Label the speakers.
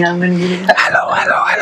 Speaker 1: يا عم نجيب
Speaker 2: الو الو